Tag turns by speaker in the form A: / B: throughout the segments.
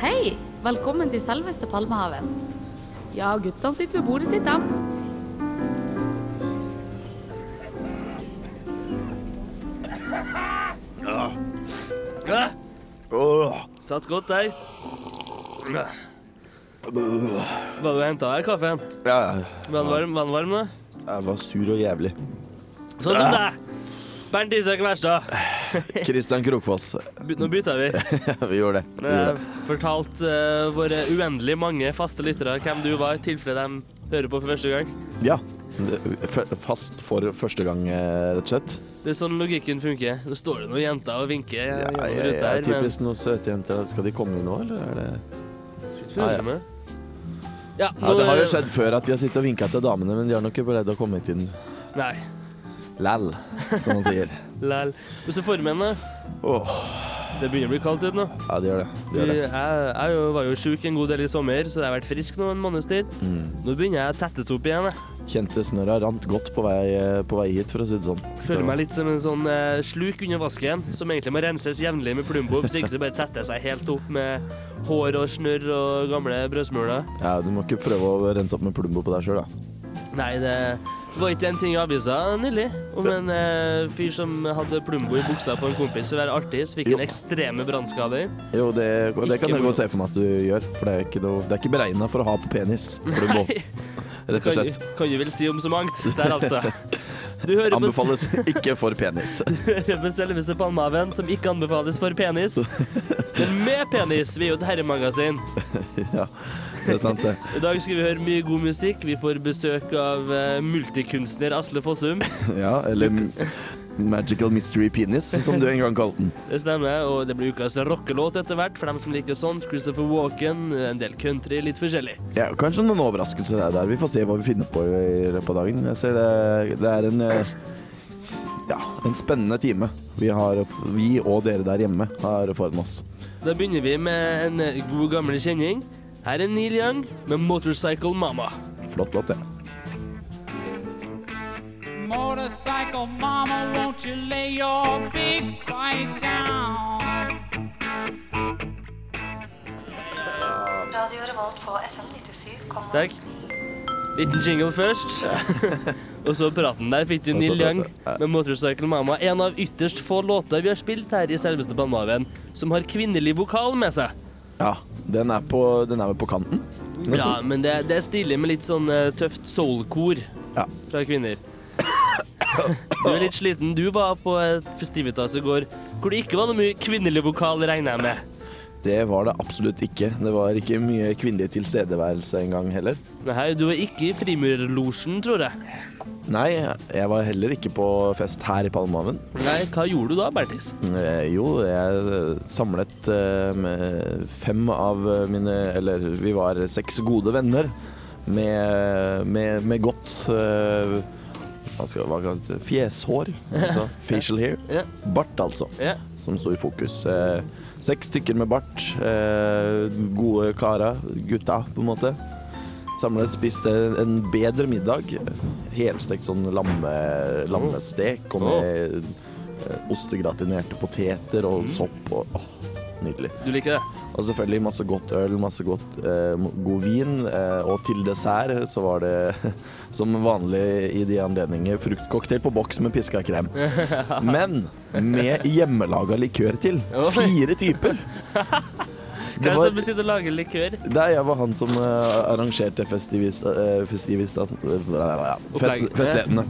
A: Hei! Velkommen til selveste Palmehaven. Ja, guttene sitter ved bordet sitt, dem.
B: Ja,
C: Åh,
B: satt godt der.
C: øh,
B: Hva du henta her, kaffen?
C: ja,
B: Var den varm, var den varm da?
C: jeg var sur og jævlig.
B: Sånn som deg. Bernt Isak Wærstad.
C: Kristian Krokfoss.
B: By- Nå bytter vi.
C: Vi gjorde det. Vi
B: Men
C: gjorde
B: jeg
C: det.
B: fortalte eh, våre uendelig mange faste lyttere hvem du var, i tilfelle de hører på for første gang.
C: Ja. det- f- Fast for første gang, eh, rett og slett.
B: Det er sånn logikken funker. Nå står det noen jenter og vinker.
C: Ja,
B: gjennom
C: jeg, jeg
B: ruta
C: er
B: her, men-
C: typisk noen søte jenter. Skal de komme nå, eller er det
B: Ja, ja. Ja,
C: Ja,
B: nå,
C: Det har jo
B: eh,
C: skjedd før at vi har sittet og vinka til damene, men de har nok ikke beredt å komme hit inn
B: Nei,
C: læl, som man sier.
B: lel. Men så formen, da.
C: Åh,
B: Det begynner å bli kaldt ut nå.
C: ja, det gjør det. Det gjør
B: Jeg,
C: det.
B: jeg jo- var jo sjuk en god del i sommer, så jeg har vært frisk nå en måneds tid.
C: Mm.
B: Nå begynner jeg å tettes opp igjen. Jeg.
C: Kjente snørra rant godt på vei, eh, på vei hit, for å si det sånn.
B: Føler meg litt som en sånn eh, sluk under vasken, som egentlig må renses jevnlig med Plumbo, hvis ikke så bare tetter jeg seg helt opp med hår og snørr og gamle brødsmuler.
C: Ja, du må ikke prøve å rense opp med Plumbo på deg sjøl, da.
B: Nei, det var ikke en ting i avisa nylig om en eh, fyr som hadde Plumbo i buksa på en kompis for å være artig, så fikk
C: Jo.
B: han ekstreme brannskader.
C: Jo, det, det kan
B: Ikke
C: jeg godt
B: Plumbo.
C: se for meg at du gjør, for det er ikke, noe- det er ikke beregna for å ha på penis. Plumbo, rett
B: Kan,
C: og slett.
B: du- kan du vel si om så mangt der, altså. Du hører på
C: Anbefales ikke for penis.
B: hører på selveste Palmehaven, som ikke anbefales for penis. Men med penis! Vi er jo et herremagasin.
C: Ja, det er sant, det.
B: I dag skal vi høre mye god musikk. Vi får besøk av eh, multikunstner Asle Fossum.
C: Ja, eller m- Magical Mystery Penis, som du en gang kalte den.
B: Det stemmer. Og det blir ukas rockelåt etter hvert, for dem som liker sånt. Christopher Walken, en del country, litt forskjellig.
C: Ja, kanskje noen overraskelser er der. Vi får se hva vi finner på i løpet av dagen. Jeg ser det, det er en eh, ja, en spennende time vi, har, vi og dere der hjemme har foran oss.
B: Da begynner vi med en eh, god gammel kjenning. Her er Neil Young med 'Motorcycle Mama'.
C: Flott låt, det.
D: Motorcycle mama, won't you lay your big spike down?
E: Radio Revolt på FM 97,9.
B: Takk. Liten jingle først. og så praten der fikk du
C: Og så
B: Neil Young
C: praten, ja.
B: med 'Motorcycle Mama'. En av ytterst få låter vi har spilt her i selveste Palmehaven som har kvinnelig vokal med seg.
C: Ja, den er på, den er vel på kanten. Den er
B: Ja,
C: sånn-
B: men det, det er stille med litt sånn eh, tøft soul-kor
C: Ja.
B: fra kvinner. Du er litt sliten. Du var på et festivitas i går hvor det ikke var noe mye kvinnelig vokal, regner jeg med.
C: Det var det absolutt ikke. Det var ikke mye kvinnelig tilstedeværelse engang heller.
B: Nei, du er ikke i frimurerlosjen, tror jeg.
C: Nei, jeg var heller ikke på fest her i Palmehaven.
B: Nei, hva gjorde du da, Bertis?
C: Eh, jo, jeg eh, samlet eh, med fem av eh, mine Eller vi var seks gode venner med, med, med godt eh, hva skal, hva kan det hete? Fjeshår, altså facial hair.
B: Ja.
C: Bart, altså,
B: Ja.
C: som sto i fokus. Eh, seks stykker med bart. Eh, gode karer. Gutta, på en måte. Samlet spiste en bedre middag. Helstekt sånn lamme, lammestek og med eh, ostegratinerte poteter og sopp og åh, nydelig.
B: Du liker det?
C: Og selvfølgelig masse godt øl, masse godt, eh, god vin. Eh, og til dessert eh, så var det som vanlig i de anledninger fruktcocktail på boks med piska krem. Men med hjemmelaga likør til. Fire typer.
B: Hvem
C: Det var-
B: som sitter og lager likør?
C: Nei, jeg var han som eh, arrangerte festivis, eh, festivis, da, ja, fest,
B: Opplegg.
C: festlighetene.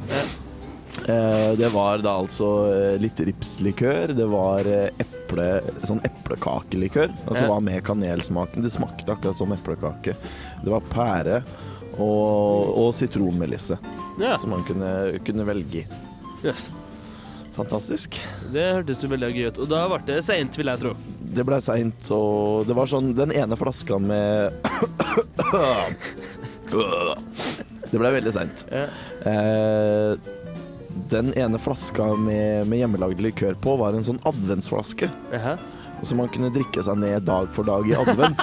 C: Eh, det var da altså eh, litt ripslikør, det var eh, eple, sånn eplekakelikør. Altså
B: Ja.
C: var med kanelsmaken. Det smakte akkurat som eplekake. Det var pære og, og sitronmelisse,
B: Ja.
C: som man kunne, kunne velge i.
B: Yes.
C: Fantastisk.
B: Det hørtes jo veldig gøy ut. Og da ble det seint, vil jeg tro.
C: Det ble seint, og det var sånn Den ene flaska med Det ble veldig seint.
B: Ja.
C: Eh, den ene flaska med, med hjemmelagd likør på var en sånn adventsflaske.
B: Jaha.
C: Som man kunne drikke seg ned dag for dag i advent.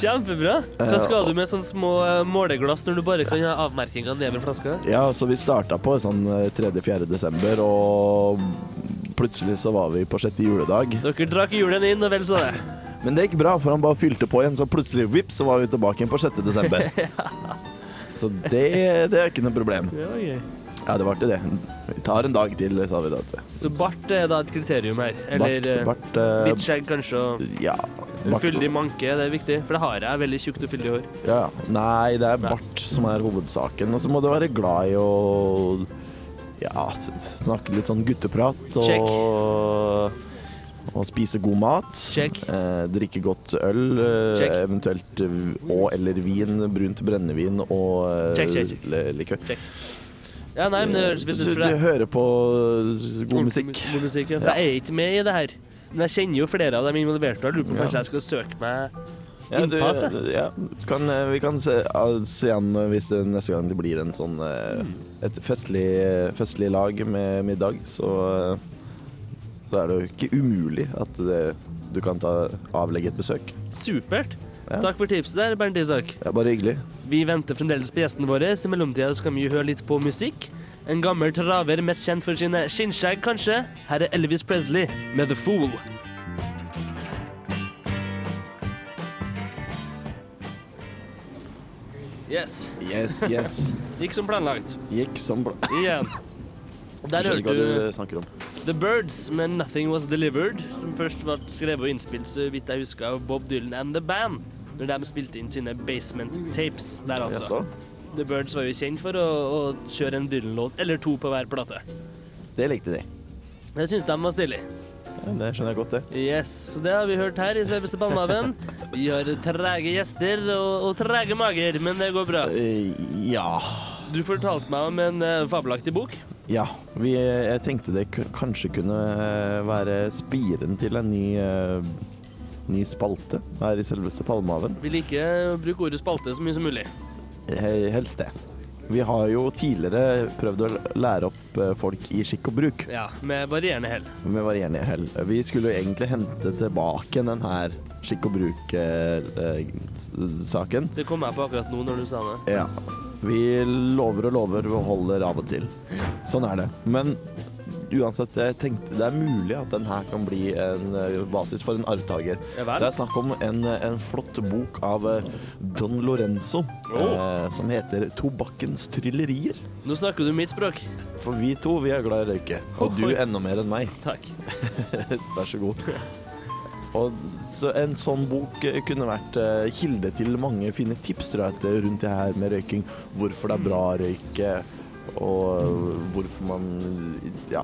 B: Kjempebra. Da skal du med sånne små eh, måleglass når du bare kan ha avmerkinga nedover flaska.
C: Ja, så vi starta på sånn 3.-4. desember, og plutselig så var vi på sjette juledag.
B: Dere drakk julen inn, og vel så det.
C: Men det gikk bra, for han bare fylte på igjen, så plutselig vips, så var vi tilbake igjen på 6. desember. Så det, det er ikke noe problem.
B: det var gøy.
C: Ja, det var ikke det. Vi tar en dag til, sa vi da.
B: Så bart er da et kriterium her. Eller eh,
C: Bart, bart, eh,
B: litt skjegg, kanskje. Og
C: Ja.
B: en fyldig manke, det er viktig. For det har jeg. Veldig tjukt og fyldig hår.
C: Ja, ja. Nei, det er
B: Nei.
C: bart som er hovedsaken. Og så må du være glad i å ja, s- snakke litt sånn gutteprat. Og,
B: Check.
C: og spise god mat.
B: Check.
C: Eh, drikke godt øl, eh,
B: Check.
C: eventuelt eh, og eller vin. Brunt brennevin og eh,
B: Check, check, check.
C: le- likør.
B: Ja, nei, men det høres fint ut
C: Så
B: for
C: du
B: deg.
C: hører på eh, god musikk.
B: God musikk, ja. For jeg er ikke med i det her. Men jeg kjenner jo flere av dem involverte. og Jeg lurer på om
C: Ja.
B: kanskje jeg skal søke meg
C: Ja, du,
B: innpass, jeg.
C: ja, du kan, eh, vi kan se, ah, se an eh, hvis det neste gang det blir en sånn eh,
B: Mm.
C: et festlig, eh, festlig lag med middag, så, eh, så er det jo ikke umulig at det, du kan ta, avlegge et besøk.
B: Supert.
C: Ja.
B: Takk for tipset der, Bernt Isak.
C: Det er bare hyggelig.
B: Vi venter fremdeles på gjestene våre. så I mellomtida så kan vi høre litt på musikk. En gammel traver mest kjent for sine skinnskjegg, kanskje. Her er Elvis Presley med The Fool. Yes.
C: Yes, yes.
B: Gikk som planlagt.
C: Gikk som bla...
B: Igjen. Der
C: Skjønner ikke
B: hørte
C: hva
B: du
C: du snakker om.
B: The Birds med 'Nothing Was Delivered', som først ble skrevet og innspilt så vidt jeg husker, av Bob Dylan and The Band, når de spilte inn sine basement tapes der, altså.
C: Jaså?
B: The Birds var jo kjent for å, å kjøre en Dylan-låt eller to på hver plate.
C: Det likte de.
B: Det syns de var stilig.
C: Ja, det skjønner jeg godt, det.
B: Yes, så Det har vi hørt her i selveste Palmehaven. Vi har trege gjester og, og trege mager, men det går bra.
C: Eh, Ja.
B: Du fortalte meg om en eh, fabelaktig bok.
C: Ja, vi, jeg tenkte det ku- kanskje kunne eh, være spiren til en ny, eh, ny spalte her i selveste Palmehaven.
B: Vil ikke bruke ordet spalte så mye som mulig.
C: He- Helst det. Vi har jo tidligere prøvd å l- lære opp eh, folk i skikk og bruk
B: Ja, Med varierende hell.
C: med varierende hell. Vi skulle jo egentlig hente tilbake den her skikk og eh, bruk-saken.
B: Det kom jeg på akkurat nå når du sa det.
C: Ja. Vi lover og lover og holder av og til. Sånn er det. Men uansett, jeg tenkte det er mulig at den her kan bli en eh, basis for en arvtaker.
B: Ja vel.
C: det er snakk om en, eh, en flott bok av eh, Don Lorenzo
B: Åh.
C: eh, som heter 'Tobakkens tryllerier'.
B: Nå snakker du mitt språk.
C: For vi to, vi er glad i å røyke. Og du
B: Oi.
C: enda mer enn meg.
B: Takk.
C: Vær så god. Og så en sånn bok eh, kunne vært eh, kilde til mange fine tips tror jeg, at, eh, rundt det her med røyking. Hvorfor det er bra å røyke, og hvorfor man ja,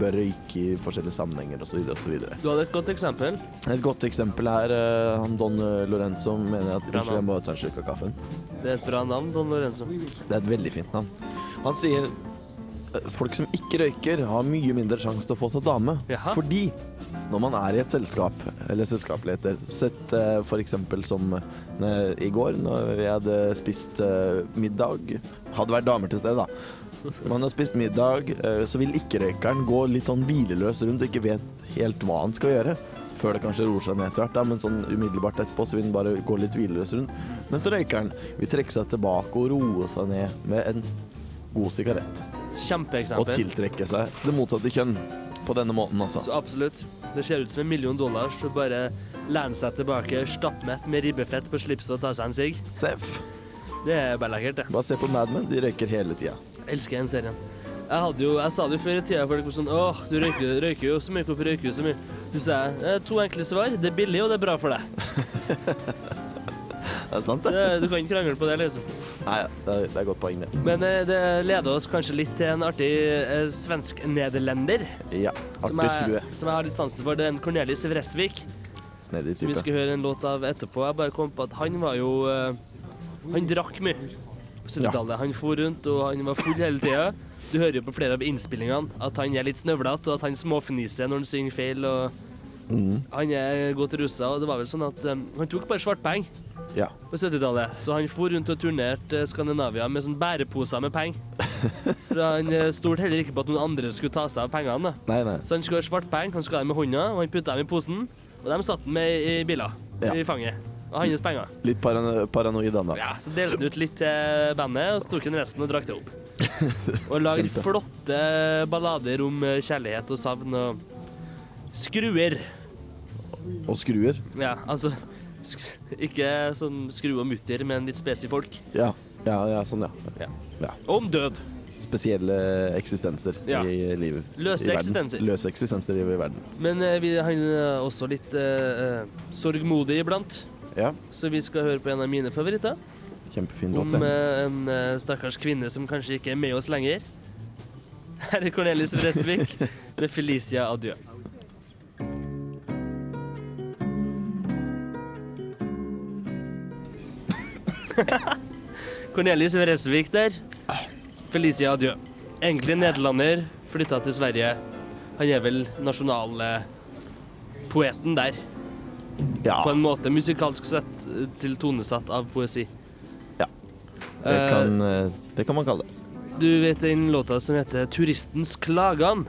C: bør røyke i forskjellige sammenhenger osv. videre.
B: Du hadde et godt eksempel.
C: Et godt eksempel her, eh, han Don Lorenzo mener at
B: Bra navn.
C: Unnskyld, jeg må ta en slurk av kaffen.
B: Det er et bra navn, Don Lorenzo.
C: Det er et veldig fint navn. Han sier eh, folk som ikke røyker, har mye mindre sjanse til å få seg dame.
B: Jaha.
C: Fordi når man er i et selskap, eller selskapeligheter Sett eh, for eksempel som eh, i går, når vi hadde spist eh, middag Hadde vært damer til stede, da. Man har spist middag, eh, så vil ikke-røykeren gå litt sånn hvileløs rundt og ikke vet helt hva han skal gjøre. Før det kanskje roer seg ned etter hvert, da, men sånn umiddelbart etterpå så vil den bare gå litt hvileløs rundt. Men så røykeren vil trekke seg tilbake og roe seg ned med en god sigarett. Og
B: Kjempeeksempel.
C: tiltrekke seg det motsatte kjønn på denne måten, altså.
B: Så absolutt. Det ser ut som en million dollar, så bare lene seg tilbake stappmett med ribbefett på slipset og ta seg en sigg.
C: Seff.
B: Det er bare lekkert, det.
C: Bare se på Mad Men, de røyker hele tida.
B: Elsker den serien. Jeg, hadde jo, jeg sa det jo før i tida, folk var sånn Åh, du røyker, røyker jo så mye, hvorfor røyker du så mye? Så sa jeg «Eh, to enkle svar. Det er billig, og det er bra for deg.
C: Er det sant,
B: Det,
C: det?
B: du kan ikke krangle på det, liksom.
C: Nei, det er, det er et godt poeng, det.
B: Men eh, det leder oss kanskje litt til en artig eh, svensk-nederlender.
C: Ja.
B: Som
C: Artig
B: jeg,
C: skue.
B: som jeg har litt sansen for. Det er en Cornelis Vresvik.
C: Snedig
B: Som vi
C: type.
B: skal høre en låt av etterpå. Jeg bare kom på at han var jo eh, Han drakk mye på 70-tallet. Han for rundt, og han var full hele tida. Du hører jo på flere av innspillingene at han er litt snøvlete, og at han småfniser når han synger feil. og Han er godt rusa, og det var vel sånn at eh, han tok bare svartpenger
C: Ja.
B: på 70-tallet. Så han for rundt og turnerte eh, Skandinavia med sånn bæreposer med penger. For han eh, stolte heller ikke på at noen andre skulle ta seg av pengene. da.
C: Nei, nei.
B: Så han skulle ha svart penger, han skulle ha dem med hånda, og han putta dem i posen. Og de satt med i biler
C: Ja.
B: i fanget. Og hans penger.
C: Litt parano paranoid, han da.
B: Ja, Så delte han ut litt til bandet, og så tok han resten og drakk det opp. Og lagde
C: Kjempe.
B: flotte ballader om eh, kjærlighet og savn og skruer.
C: Og skruer.
B: Ja, altså sk Ikke sånn skru og mutter, men litt spesifikke folk.
C: Ja. Ja, ja, sånn, ja.
B: Ja.
C: ja.
B: Om død.
C: Spesielle eksistenser
B: Ja.
C: i livet.
B: Løse
C: I verden.
B: eksistenser.
C: Løse eksistenser i verden.
B: Men eh, vi har eh, også litt eh, eh, sorgmodig iblant,
C: Ja.
B: så vi skal høre på en av mine favoritter.
C: Kjempefin låt.
B: Om
C: det.
B: eh, en eh, stakkars kvinne som kanskje ikke er med oss lenger. Her er Cornelis Vresvik med 'Felicia Adjø'. Cornelis Vresvik der. Felicia Adjø. Egentlig nederlander, flytta til Sverige. Han er vel nasjonalpoeten der,
C: Ja.
B: på en måte. Musikalsk sett eh, til tonesatt av poesi.
C: Det kan, eh, det kan man kalle det.
B: Du vet den låta som heter 'Turistens klagan'?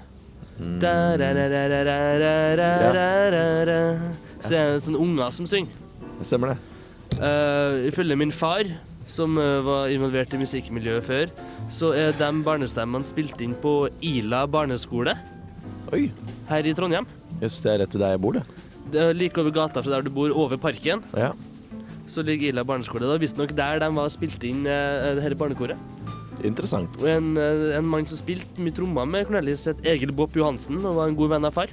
C: Mm.
B: Da, da, da, da, da, da, da, da, da, da, da. Så er det sånne unger som synger.
C: Det Stemmer det.
B: Eh, ifølge min far, som eh, var involvert i musikkmiljøet før, så er de barnestemmene spilt inn på Ila barneskole
C: Oi!
B: her i Trondheim.
C: Jøss, det er rett ved der jeg bor, det.
B: Det er like over gata fra der du bor, over parken,
C: Ja.
B: så ligger Ila barneskole. Det var visstnok der de var spilt inn eh, det her barnekoret.
C: Interessant.
B: Og en, eh, en mann som spilte mye trommer med Cornelis, het Egil Bopp Johansen, og var en god venn av far.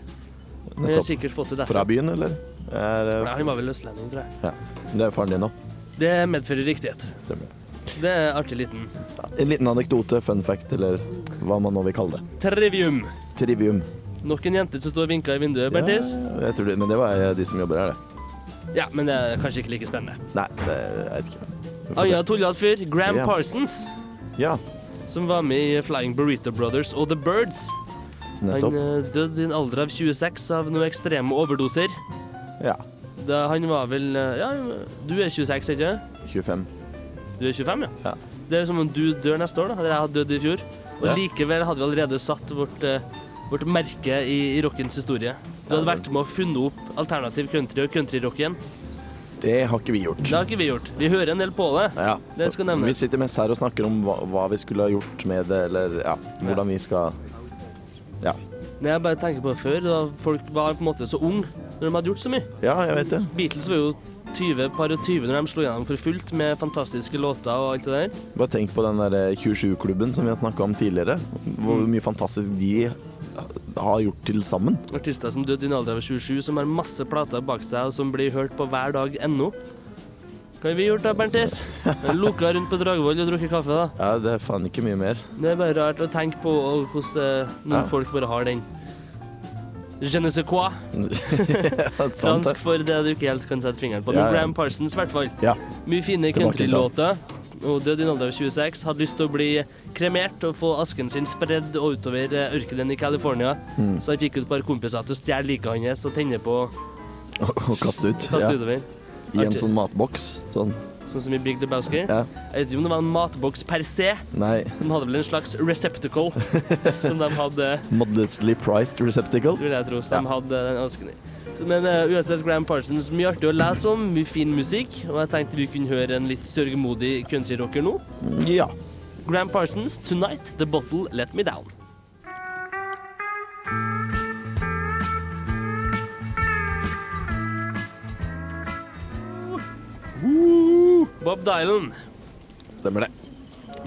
B: Han har
C: Nettopp.
B: sikkert fått det
C: Fra
B: derfra.
C: byen, eller? Er, eh,
B: Ja, han var vel østlending, tror jeg.
C: ja. Det er jo faren din nå.
B: Det medfører riktighet.
C: Stemmer det.
B: Så det er artig liten
C: En liten anekdote, fun fact, eller hva man nå vil kalle det.
B: trivium.
C: Trivium.
B: Nok en jente som står og vinker i vinduet,
C: Ja,
B: Bertis.
C: jeg tror det, men det var eh, de som jobber her, det.
B: Ja, men det er kanskje ikke like spennende.
C: Nei, det, jeg vet ikke. Vi får se.
B: Anja tullete fyr, Gram
C: Ja.
B: Parsons,
C: Ja,
B: som var med i Flying Burrito Brothers og The Birds. Han
C: nettopp.
B: eh, døde i en alder av 26 av noen ekstreme overdoser.
C: Ja.
B: Da han var vel eh, Ja, du er 26, ikke sant?
C: 25.
B: Du er 25, ja?
C: Ja.
B: Det er som om du dør neste år, da. Eller jeg hadde dødd i fjor. Og
C: Ja.
B: likevel hadde vi allerede satt vårt, eh, vårt merke i, i rockens historie. Du hadde vært med og funnet opp alternativ country og countryrocken.
C: Det har ikke vi gjort.
B: Det har ikke vi gjort. Vi hører en del på det.
C: Ja.
B: Det skal nevnes.
C: Vi sitter mest her og snakker om hva, hva vi skulle ha gjort med det, eller ja, hvordan vi skal Ja.
B: Når jeg bare tenker på det før, da folk var på en måte så unge når de hadde gjort så mye.
C: Ja, jeg vet det.
B: Beatles var jo 20, par og 20 når de slo gjennom for fullt med fantastiske låter og alt det der.
C: Bare tenk på den der 27-klubben som vi har snakka om tidligere. Hvor mye fantastisk de har gjort til sammen.
B: Artister som døde i en alder av 27, som har masse plater bak seg, og som blir hørt på hver dag ennå. Hva har vi gjort da, Berntes? Loka rundt på Dragvoll og drukket kaffe, da.
C: Ja, det er faen ikke mye mer.
B: Det er bare rart å tenke på og hvordan eh, noen
C: Ja.
B: folk bare har den Je ne sais quoi.
C: Ja, sant,
B: Fransk
C: det.
B: for det du ikke helt kan sette fingeren på. Men
C: Ja, ja.
B: Graham Parsons, i hvert fall.
C: Ja.
B: Mye fine
C: Tilbake til
B: countrylåter. Og døde i en alder av 26. Hadde lyst til å bli kremert og få asken sin spredd og utover eh, ørkenen i California.
C: Mm.
B: Så han fikk ut et par kompiser til å stjele liket hans og tenne på
C: Og kaste ut.
B: kaste
C: Ja.
B: utover.
C: I en
B: Artig.
C: sånn matboks. Sånn.
B: Sånn som i Big Lebowski.
C: Ja.
B: Jeg vet ikke om det var en matboks per se,
C: Nei.
B: men hadde vel en slags receptacle som de hadde
C: Modestly priced receptacle.
B: vil jeg tro, som de hadde den asken i. Så, men eh, uansett, Graham Parsons, mye artig å lese om, mye fin musikk, og jeg tenkte vi kunne høre en litt sørgmodig countryrocker nå.
C: Ja.
B: Graham Parsons, 'Tonight The Bottle Let Me Down'. Bob Dylan,
C: Stemmer det.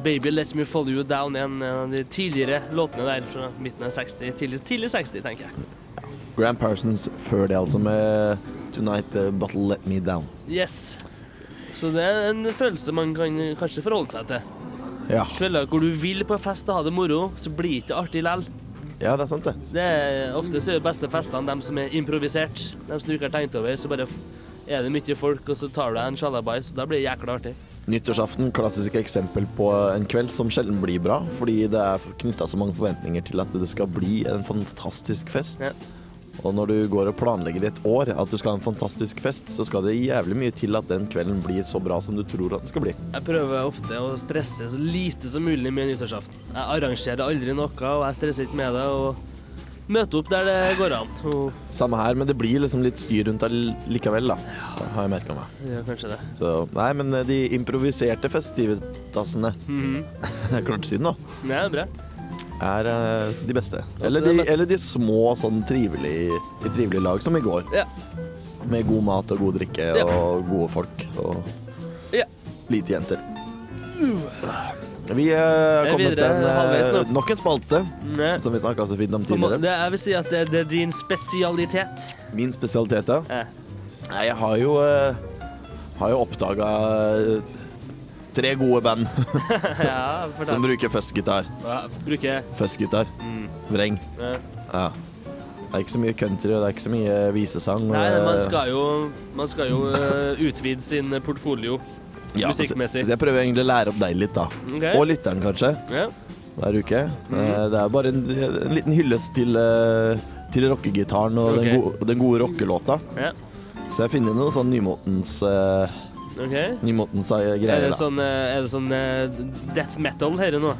B: 'Baby Let Me Follow You Down', en av de tidligere låtene der fra midten av 60, tidlig, tidlig 60, tenker jeg.
C: Grand Parsons før det, altså, med 'Tonight the Bottle Let Me Down'.
B: Yes. Så det er en følelse man kan kanskje forholde seg til.
C: Ja.
B: Kvelder hvor du vil på fest og ha det moro, så blir det ikke artig lell.
C: ja, det er sant, det.
B: Det er, ofte så er de beste festene de som er improvisert. De som du ikke har tenkt over. Så bare f- er det mye folk, og så tar du deg en sjalabais. Da blir det jækla artig.
C: Nyttårsaften, klassisk eksempel på en kveld som sjelden blir bra, fordi det er knytta så mange forventninger til at det skal bli en fantastisk fest.
B: Ja.
C: Og når du går og planlegger i et år at du skal ha en fantastisk fest, så skal det jævlig mye til at den kvelden blir så bra som du tror at den skal bli.
B: Jeg prøver ofte å stresse så lite som mulig med nyttårsaften. Jeg arrangerer aldri noe, og jeg stresser ikke med det. og møte opp der det går an. Og,
C: Samme her, men det blir liksom litt styr rundt det likevel, da. Det har jeg merka meg.
B: ja, kanskje det.
C: Så nei, men eh, de improviserte festivitasene
B: Mhm.
C: Jeg klarte å si det nå.
B: Nei, bra.
C: Er eh, de beste. Eller
B: det er
C: de,
B: best.
C: eller de små, sånn trivelig, i trivelige lag, som i går.
B: Ja.
C: Med god mat og god drikke
B: Ja.
C: og gode folk og
B: Ja.
C: lite jenter. Vi eh, har kommet
B: videre
C: til en, eh,
B: halvveis nå.
C: nok en spalte
B: Nei.
C: som vi snakka så fint om
B: På en måte-
C: tidligere.
B: Det, jeg vil si at det, det er din spesialitet.
C: Min spesialitet, ja.
B: Eh,
C: Nei, jeg har jo, eh, har jo oppdaga tre gode band
B: ja, for
C: som
B: det.
C: bruker fuzzgitar.
B: Ja, bruker
C: Fuzzgitar. Vreng.
B: eh,
C: Ja. Det er ikke så mye country, og det er ikke så mye visesang.
B: Nei,
C: eh,
B: man skal jo, man skal jo eh, utvide sin portfolio
C: ja, altså,
B: musikkmessig.
C: Så jeg prøver egentlig å lære opp deg litt, da.
B: Ok. Mhm.
C: Og lytteren, kanskje,
B: Ja.
C: hver uke. Eh, Det er bare en, en liten hyllest til, eh, til rockegitaren og
B: Ok.
C: den, gode, den gode rockelåta.
B: ja.
C: Så jeg finner noen sånn nymotens, eh,
B: OK.
C: nymotens eh,
B: Er
C: greier,
B: det
C: da.
B: sånn, eh, er det sånn eh, death metal her nå?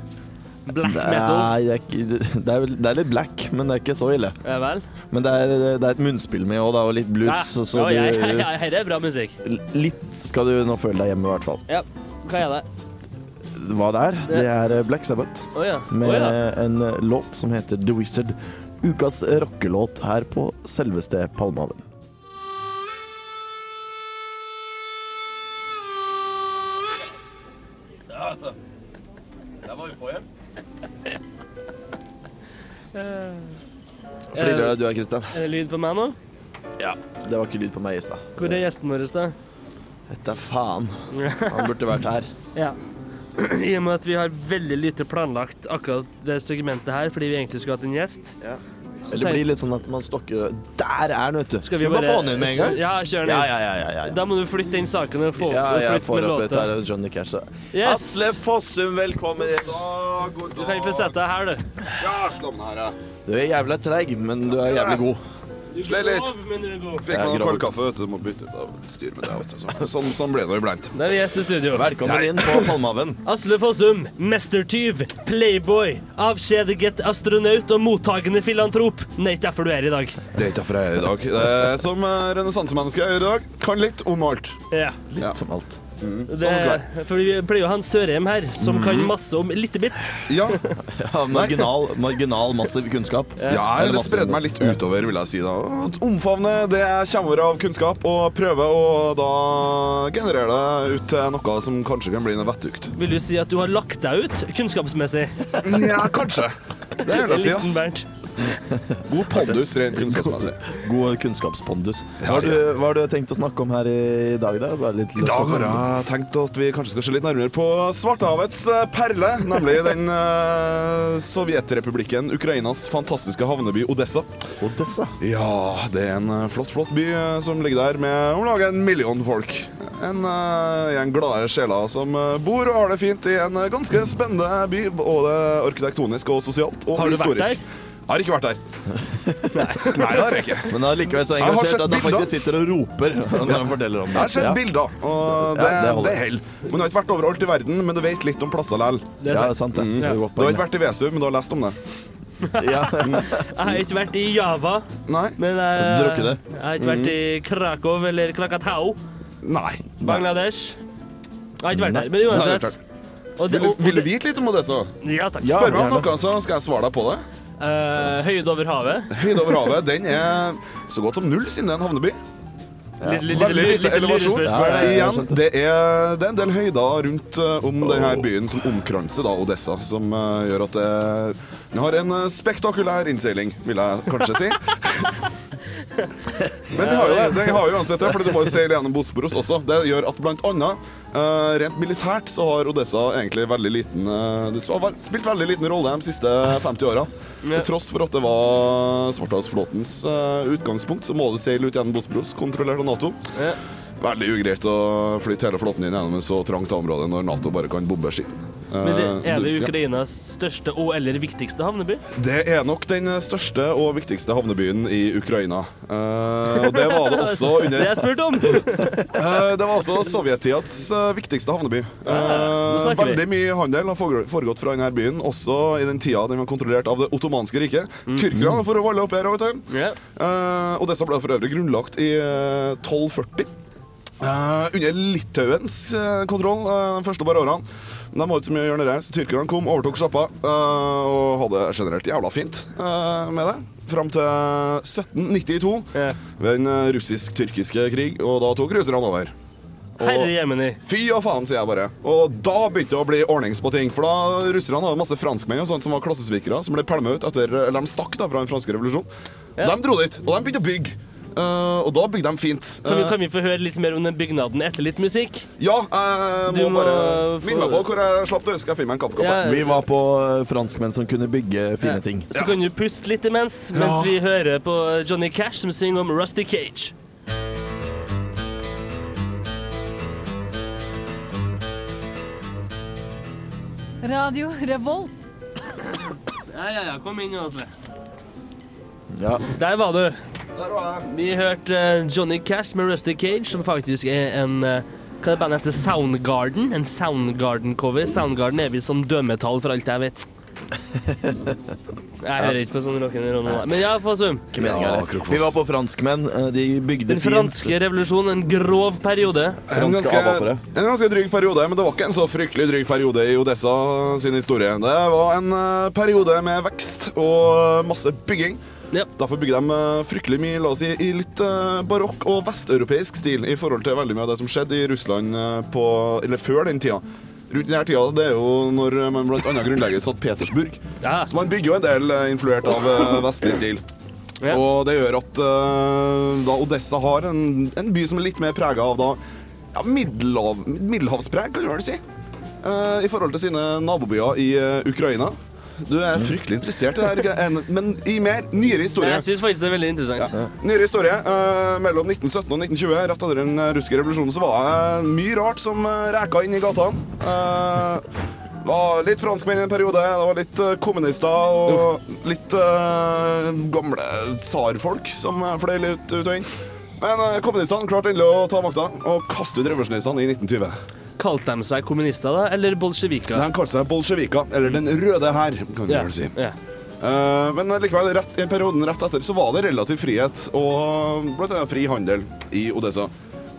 B: Black metal?
C: Nei, det er, ikke, det, er, vel- det er litt black, men det er ikke så ille.
B: Ja vel?
C: Men det er, det er et munnspill med òg, da, og litt blues.
B: Ja,
C: så-
B: ja,
C: så
B: ja,
C: du,
B: ja, her er bra musikk.
C: Litt skal du nå føle deg hjemme, i hvert fall.
B: Ja. Hva er det?
C: Hva det er? Det er eh, Black Sabbath
B: Å ja. Å,
C: med
B: ja.
C: en eh, låt som heter The Wizard. Ukas rockelåt her på selveste Palmehaven. Flirer du av, Kristian?
B: Er det lyd på meg nå?
C: Eh. Ja. Det var ikke lyd på meg i stad.
B: Hvor er gjesten vår, da?
C: Dette er faen. Han burde vært her.
B: Ja. I og med at vi har veldig lite planlagt akkurat det segmentet her, fordi vi egentlig skulle hatt en gjest.
C: Eller det blir litt sånn at man stokker Der er han, vet du. Skal vi bare få han inn med en gang?
B: Ja, kjør den
C: Ja,
B: inn.
C: ja, ja. ja, ja, ja.
B: Da må du flytte den saken og få
C: Ja, jeg
B: flytte
C: får
B: med
C: opp dette
B: låta.
C: her, Johnny Cash. da.
B: Yes.
C: Atle Fossum, velkommen. inn.
F: dag, god
B: Du kan ikke få sette deg her, du.
F: Ja, slå den her, ja.
C: Du er jævla treig, men du er jævlig god.
F: Slei litt.
B: litt.
C: Jeg
F: Fikk meg
C: er
F: noe
C: gravid.
F: kald kaffe, vet du. Må bytte ut av styr med det. Vet du. Så- Sånn, sånn ble det nå iblant.
B: Da er vi gjest i studio.
C: Velkommen inn på Palmehaven.
B: Asle Fossum, mestertyv, playboy, avskjediget astronaut og mottagende filantrop. Nei, ikke derfor du er i dag.
F: Det er ikke derfor jeg er her i dag. Eh, Som eh, renessansemenneske er jeg her i dag. Kan litt om alt.
B: Ja.
F: Ja.
C: Som alt. sånn
B: Det, for vi pleier jo å ha en Sørheim her, som
C: Mhm.
B: kan masse om lite bitt.
F: Ja.
C: Ja, marginal, marginal massiv kunnskap.
F: ja eller spredde meg litt utover, vil jeg si. da. Omfavne det jeg kommer av kunnskap, og prøve å da generere det ut til noe som kanskje kan bli en vettugt.
B: Vil du si at du har lagt deg ut kunnskapsmessig?
F: Ja, kanskje. Det vil jeg si.
B: Liten
F: ass.
B: Bernt.
F: God pondus rent kunnskapsmessig.
C: Altså, God kunnskapspondus. Hva
F: Ja,
C: har du, hva har du tenkt å snakke om her i dag, da? Bare litt
F: I dag har
C: jeg
F: jeg tenkt at vi kanskje skal se litt nærmere på Svartehavets eh, perle, nemlig den eh, sovjetrepublikken Ukrainas fantastiske havneby Odessa.
C: Odessa.
F: Ja, det er en eh, flott, flott by eh, som ligger der med om lag en million folk. En eh, gjeng glade sjeler som eh, bor og har det fint i en eh, ganske spennende by, både arkitektonisk og sosialt og
B: Har du vært
F: historisk.
B: der?
F: Jeg har ikke vært der. Nei, Nei det har jeg ikke.
C: Men han er likevel så
F: Jeg har
C: engasjert at
F: sett
C: han
F: bilder.
C: faktisk sitter og roper når han forteller om det.
F: Jeg har sett
C: Ja.
F: bilder, og det,
C: Ja, det holder.
F: det holder. Men du har ikke vært overalt i verden, men du vet litt om plasser likevel.
B: Det er
C: Ja, det er
B: sant.
C: sant det.
F: Mm.
C: det. er
F: Du
C: godt
F: har
C: poeng,
F: ikke vært i Vesu, men du har lest om
C: da.
F: det?
C: Ja.
B: Jeg har ikke vært i Java,
F: Nei.
B: men jeg,
C: Drukket det.
B: jeg har ikke vært i Krakow eller Krakatau,
F: Mm. Nei.
B: Bangladesh. Jeg har ikke vært der, men
F: Nei, det er
B: uansett.
F: klart.
B: Og det-
F: Vil,
B: og- og
F: vil du
B: det-
F: vite litt om det, så?
B: Ja, takk.
C: Ja.
F: Spør meg om
C: gjerne.
F: noe, så skal jeg svare deg på det.
B: Eh, høyde over havet.
F: Høyde over havet, den er så godt som null, siden det er en havneby.
B: Litt, litt, litt,
F: Veldig
B: litt,
F: lite
B: litt
F: elevasjon.
B: lurespørsmål.
C: Ja, ja, ja.
F: Igjen, det er, det er en del høyder rundt eh, om denne byen som omkranser da, Odessa, som eh, gjør at det den har en eh, spektakulær innseiling, vil jeg kanskje si. Men den har jo det, den har jo uansett det, for du må jo seile gjennom Bosporos også. Det gjør at blant annet eh, rent militært så har Odessa egentlig veldig liten eh, Det har vel- spilt veldig liten rolle de siste 50 åra. Til tross for at det var Svartehavsflåtens eh, utgangspunkt, så må du seile ut gjennom Bosporos, kontrollert av Nato.
B: Ja.
F: Veldig ugreit å flytte hele flåten inn gjennom et så trangt område når Nato bare kan bombe skitten.
B: Men det,
F: Eh,
B: er det
F: ja.
B: Ukrainas største og eller viktigste havneby?
F: Det er nok den største og viktigste havnebyen i Ukraina. Eh, og det var det også
B: Det
F: under
B: jeg spurte om! Det
F: Eh, Det var også sovjettidas eh, viktigste havneby. Eh,
B: nå snakker vi.
F: veldig mye handel har foregå- foregått fra denne byen, også i den tida den var kontrollert av det ottomanske riket. Tyrkerne, for å valle opp her. vet du.
B: Mm. Ja.
F: Eh, og disse ble for øvrig grunnlagt i eh, 1240. eh, under Litauens eh, kontroll eh, de første par årene. Men de hadde ikke så mye å gjøre nede, så tyrkerne kom, overtok sjappa eh, og hadde generelt jævla fint eh, med det. Fram til 1792,
B: Ja.
F: ved den eh, russisk-tyrkiske krig, og da tok russerne over.
B: Herre jemini.
F: Fy og faen, sier jeg bare. Og da begynte det å bli ordnings på ting. For da russerne hadde masse franskmenn og sånt som var klassesvikere, som ble pælma ut etter Eller de stakk da fra den franske revolusjonen.
B: Ja.
F: De dro dit, og de begynte å bygge. Eh, og da bygde de fint.
B: Kan vi,
F: Eh,
B: kan vi få høre litt mer om den bygnaden etter litt musikk?
F: ja, jeg
B: Du
F: må,
B: må
F: bare
B: få-
F: minne meg på hvor jeg slapp det. Skal jeg finne meg en kaffekopp? her?
B: Ja,
C: Vi var på eh, franskmenn som kunne bygge fine ting.
B: Eh, Så kan du puste litt imens, mens
F: Ja.
B: vi hører på Johnny Cash som synger om Rusty Cage.
G: Radio Revolt.
B: Ja, ja, ja, kom inn, Åsle.
C: Ja.
B: Der var du.
F: Der var jeg.
B: Vi hørte eh, Johnny Cash med Rusty Cage, som faktisk er en eh, Hva er bandet heter Soundgarden? En Soundgarden-cover. Soundgarden er vi sånn dømmetall for alt jeg vet. Jeg hører ikke på sånn rock'n'roll nå, men ja, Fossum.
C: Ikke meningen,
F: Ja,
C: eller?
F: Krokfoss.
C: Vi var på franskmenn. eh, De bygde
B: Den franske revolusjonen, en grov periode.
F: En
C: Franske
F: ganske,
C: avhoppere.
F: en ganske dryg periode, men det var ikke en så fryktelig dryg periode i Odessa sin historie. Det var en eh, periode med vekst og masse bygging.
B: Ja.
F: Derfor bygger de eh, fryktelig mye la oss si, i litt eh, barokk og vesteuropeisk stil i forhold til veldig mye av det som skjedde i Russland eh, på, eller før den tida. Rundt denne tida det er jo når man blant annet grunnlegger St. Petersburg.
B: Ja.
F: Så man bygger jo en del eh, influert av eh, vestlig stil.
B: Ja.
F: Og det gjør at eh, da Odessa har en, en by som er litt mer prega av da ja, middelhav, middelhavspreg, kan du vel si. eh, I forhold til sine nabobyer i eh, Ukraina. Du er fryktelig interessert i det her, en- men i mer nyere historie.
B: Jeg syns faktisk det er veldig interessant.
F: Ja. Nyere historie. Eh, mellom 1917 og 1920, rett etter den eh, russiske revolusjonen, så var det mye rart som eh, reka inn i gatene. Eh, det var litt franskmenn i en periode, det var litt eh, kommunister og litt eh, gamle tsarfolk som eh, fløy litt ut og inn. Men eh, kommunistene klarte endelig å ta makta og kaste ut revolusjonistene i 1920.
B: Kalte de seg kommunister, da? Eller bolsjeviker?
F: De kalte seg bolsjevika, eller Den røde hær, kan du
B: Ja,
F: vel si.
B: ja.
F: Eh, men likevel, rett, i perioden rett etter så var det relativ frihet og blant annet fri handel i Odessa.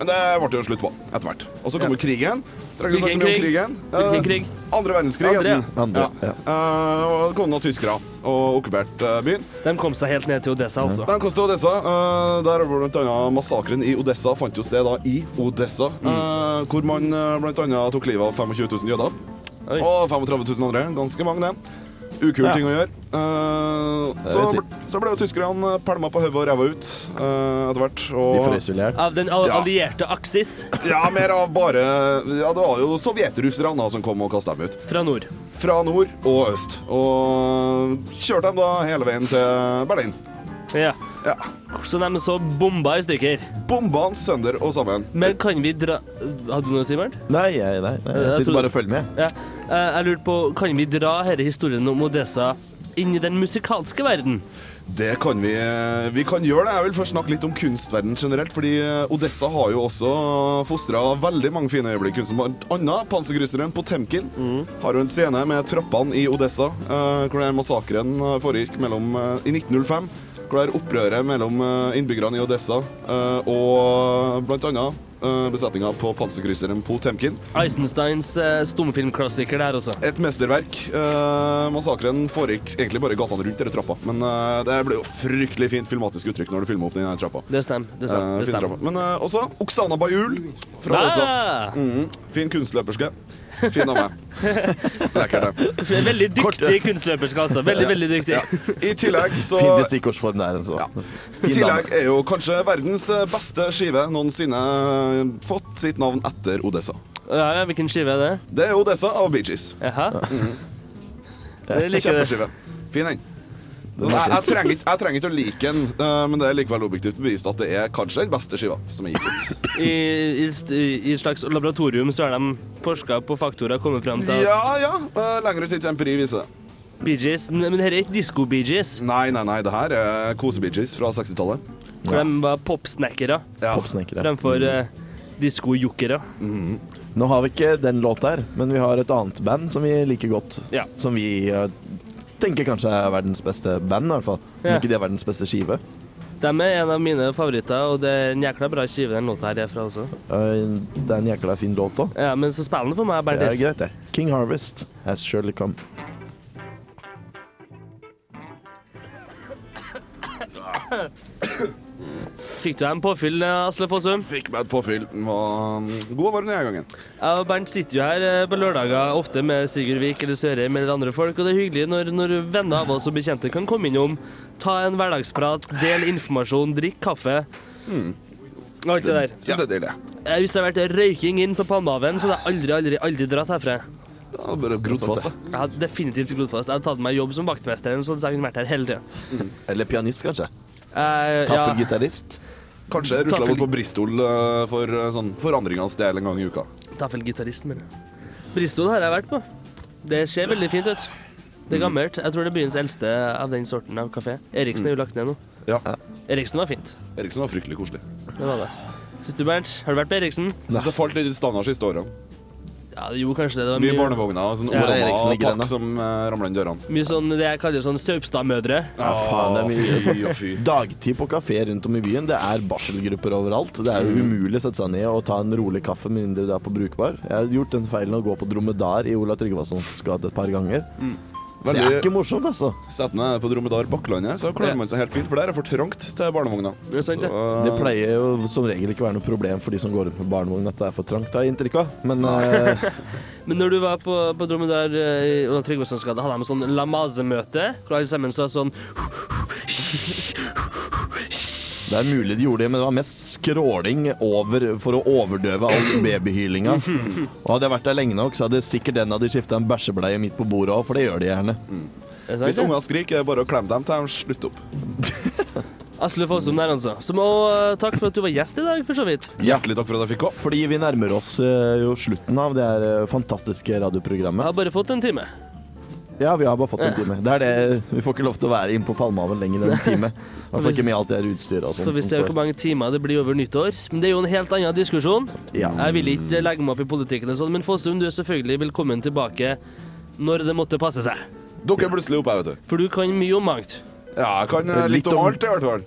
F: Men det ble det jo slutt på etter hvert. Og så kom
B: Ja.
F: jo krigen. Trenger ikke å
B: Hvilken
F: snakke mye om
B: krig?
F: krigen.
B: Hvilken
F: Eh,
B: krig?
F: Andre verdenskrig.
B: Andre, ja.
F: het den.
C: Andre, ja.
F: Eh, og det kom noen tyskere og okkuperte eh, byen.
B: De kom seg helt ned til Odessa, altså.
F: De kom til Odessa. eh, der var blant annet massakren i Odessa fant jo sted da i Odessa.
C: Mm.
F: eh, hvor man eh, blant annet tok livet av 25 000 jøder.
B: Oi.
F: Og 35 000 andre. Ganske mange, det. Ukul
C: Ja.
F: ting å gjøre. Eh,
C: Det
F: så,
C: vil si.
F: ble, så ble jo tyskerne pælma på hodet og ræva ut eh, etter hvert.
C: De
F: Og,
C: frøs vel i hjel.
B: Av den al-
F: Ja.
B: allierte aksis
F: ja, mer av bare Ja, det var jo sovjetrusserne da som kom og kasta dem ut.
B: fra nord.
F: Fra nord og øst. Og kjørte dem da hele veien til Berlin.
B: Ja.
F: Ja.
B: Så de så bomba i stykker.
F: Bomba han sønder og sammen.
B: Men kan vi dra Hadde du noe, Sivert?
C: Nei, jeg- nei, nei, jeg
B: Jeg
C: sitter
B: trodde-
C: bare og følger med.
B: Ja. Eh, Jeg lurte på Kan vi dra denne historien om Odessa inn i den musikalske verden?
F: Det kan vi. eh, Vi kan gjøre det. Jeg vil først snakke litt om kunstverden generelt, fordi eh, Odessa har jo også fostra veldig mange fine øyeblikk. Kunst som blant annet panserkrysseren Potemkin har jo en scene med trappene i Odessa, eh, hvor den massakren eh, foregikk mellom, eh, i 1905. Hvor det er opprøret mellom eh, innbyggerne i Odessa eh, og blant annet eh, besetninga på panserkrysseren Potemkin.
B: Eisensteins eh, stumfilmklassiker der også.
F: Et mesterverk. Eh, massakren foregikk egentlig bare i gatene rundt denne trappa, men eh, det ble jo fryktelig fint filmatisk uttrykk når du filmer opp den her trappa.
B: Det stemmer. Det
F: Eh,
B: stemmer. Det
F: fin trappa.
B: stemmer.
F: Men eh, også Oksana Bajul fra Åsa.
B: Ah,
F: Fin kunstløperske. Fin av meg. Lekker det.
B: veldig dyktig kunstløperske, altså. Veldig, veldig dyktig.
F: Ja. I tillegg så
C: Fint i stikkordsform der, altså.
F: I
C: Fin dame.
F: tillegg er jo kanskje verdens eh, beste skive noensinne fått sitt navn etter Odessa.
B: Ja, ja, hvilken skive er det?
F: Det er Odessa av Bee Gees.
B: Jaha? Jeg liker det.
F: Kjempeskive. Fin en.
C: Den
F: Jeg,
C: er
F: jeg, trenger, ikke- jeg trenger ikke å like den, eh, men det er likevel objektivt bevist at det er kanskje den beste skiva som er gitt ut.
B: I, i, I et slags laboratorium så har de forska på faktorer og kommet fram til at
F: Ja, ja. eh, Lenger ut i empiri viser det.
B: Bee Gees Men dette er ikke disko-Bee Gees,
F: Nei, nei, nei. Det her er kosebidgies fra 60-tallet.
B: hvor de var popsnackere
F: Ja.
C: popsnekkere.
B: fremfor eh, disko-jokkere.
C: Nå har vi ikke den låta her, men vi har et annet band som vi liker godt.
B: Ja.
C: Som vi eh, tenker kanskje er verdens beste band, i hvert fall. Om
B: Ja.
C: ikke det er verdens beste skive.
B: De er en av mine favoritter, og det er en jækla bra skive den låta her er fra også.
C: Eh, Det er en jækla fin låt òg.
B: Ja, men så spiller den for meg bare
C: Det er
B: det.
C: greit, det. King Harvest has surely come.
B: Fikk du en påfyll, eh, Asle Fossum?
F: Fikk meg et påfyll. Den var mm, god og varm denne gangen.
B: Jeg og Bernt sitter jo her eh, på lørdager ofte med Sigurd Vik eller Sørheim eller andre folk, og det er hyggelig når, når venner av oss og bekjente kan komme innom, ta en hverdagsprat, del informasjon, drikk kaffe. Alt det der.
F: Syns det er deilig.
B: Eh, Hvis det har vært røyking inn på Palmehaven, så hadde jeg aldri, aldri, aldri dratt herfra.
F: Det har bare grodd fast, da.
B: Jeg hadde definitivt grodd fast. Jeg hadde tatt meg jobb som vaktmester, eller noe sånt, så jeg kunne vært her hele tida.
C: Eller pianist, kanskje.
B: Eh, ja.
C: Taffelgitarist.
F: Kanskje
B: Ta
F: rusla
B: for-
F: bort på Bristol eh, for eh, sånn forandringens del en gang i uka.
B: Taffelgitaristen min. Bristol har jeg vært på. Det ser veldig fint ut. Det
F: Mm.
B: er gammelt. Jeg tror det er byens eldste av den sorten av kafé. Eriksen
F: Mm.
B: er jo lagt ned nå.
F: Ja.
B: Eriksen var fint.
F: Eriksen var fryktelig koselig.
B: Det var det. Syns du, Bernt? Har du vært på Eriksen?
F: Syns det falt litt i standard siste årene.
B: Ja, jo, kanskje det. Det var
F: Mye
B: mye,
F: barnevogner og sånn
B: Ja.
F: Orama
C: Eriksen
F: og
C: ligger
F: pakk
C: ennå.
F: som uh, ramla inn dørene.
B: mye sånn det jeg kaller sånn Saupstad-mødre.
C: Ja, faen, det er mye
F: Fy og fy.
C: Dagtid på kafé rundt om i byen, det er barselgrupper overalt. Det er jo umulig å sette seg ned og ta en rolig kaffe med mindre du er på brukbar. Jeg har gjort den feilen å gå på dromedar i Ola Tryggvasons gate et par ganger. Det er
F: Veldig
C: ikke morsomt, altså.
F: Sett ned på Dromedar Bakklandet, så klarer
B: Ja.
F: man seg helt fint, for der er for trangt til barnevogna.
B: Det er sant, det.
F: Så, eh,
C: Det pleier jo som regel ikke å være noe problem for de som går rundt med barnevogn at det er for trangt, har jeg inntrykk av. Men eh,
B: Men når du var på, på Dromedar eh, i Ola Tryggvasons gate, hadde de sånn Lamaze-møte. Hvor alle sammen sa sånn
C: det er mulig de gjorde det, men det var mest skråling over for å overdøve all babyhylinga. Og hadde jeg vært der lenge nok, så hadde sikkert en av de skifta en bæsjebleie midt på bordet òg, for det gjør de gjerne.
B: Er det sant,
F: Hvis
B: det?
F: unger skriker, er det bare å klemme dem til de slutter opp.
B: Asle Fossum der, altså. Som, og eh, takk for at du var gjest i dag, for så vidt.
F: Hjertelig takk for at jeg fikk komme.
C: Fordi vi nærmer oss eh, jo slutten av det her eh, fantastiske
B: Jeg
C: radioprogrammet.
B: har bare fått en time.
C: Ja, vi har bare fått en time. Det er det. Vi får ikke lov til å være inne på Palmehaven lenger enn en time. I hvert fall ikke med alt det her utstyret og
B: Får
C: sånt.
B: vi se
C: som
B: hvor
C: står.
B: mange timer det blir over nyttår. Men det er jo en helt annen diskusjon.
C: Ja.
B: Jeg vil ikke eh, legge meg opp i politikken og sånn, men Fossum, du er selvfølgelig velkommen tilbake når det måtte passe seg.
F: Dere er plutselig oppe, jeg, vet du.
B: For du kan mye om mangt.
F: Ja, jeg kan eh,
C: Litt
F: litt om
C: om-
F: alt, i hvert fall.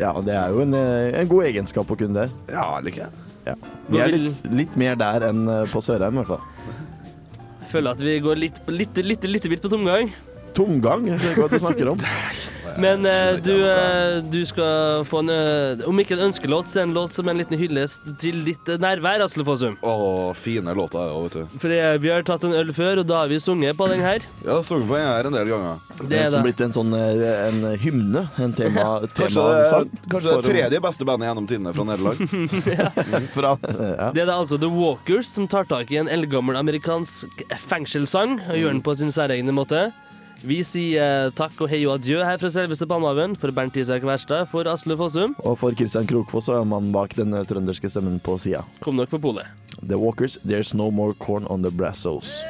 C: ja, det er jo en, eh, en god egenskap å kunne det.
F: Ja, liker jeg.
C: Ja. Vi
B: Nå
C: er
B: vil-
C: litt, litt mer der enn eh, på Sørheim, i hvert fall.
B: Jeg føler at vi går litt, litt, litt, litt vidt på tomgang.
C: Tomgang, jeg skjønner ikke hva du snakker om.
B: Men eh, du, eh, du skal få en eh, Om ikke en ønskelåt, så en låt som en liten hyllest til ditt eh, nærvær, Asle Fossum.
F: Å, fine låter er jo, vet du.
B: For eh, vi har tatt en øl før, og da har vi sunget på den her.
F: Jeg har sunget på den her en del ganger.
B: Det er
C: som
B: det.
C: blitt en sånn eh, en hymne, en tema,
F: Kanskje det,
C: temasang.
F: er- kanskje det er tredje beste bandet gjennom tidene fra Nederland.
C: Fra, ja.
B: Det er da altså The Walkers som tar tak i en eldgammel amerikansk fengselssang og gjør den på sin særegne måte. Vi sier eh, takk og hei og adjø her fra selveste Palmehaven for Bernt Isak Wærstad, for Asle Fossum.
C: Og for Christian Krokfoss er mannen bak den eh, trønderske stemmen på sida.
B: Kom nok på polet.
C: The Walkers, There's No More Corn On The Brassos.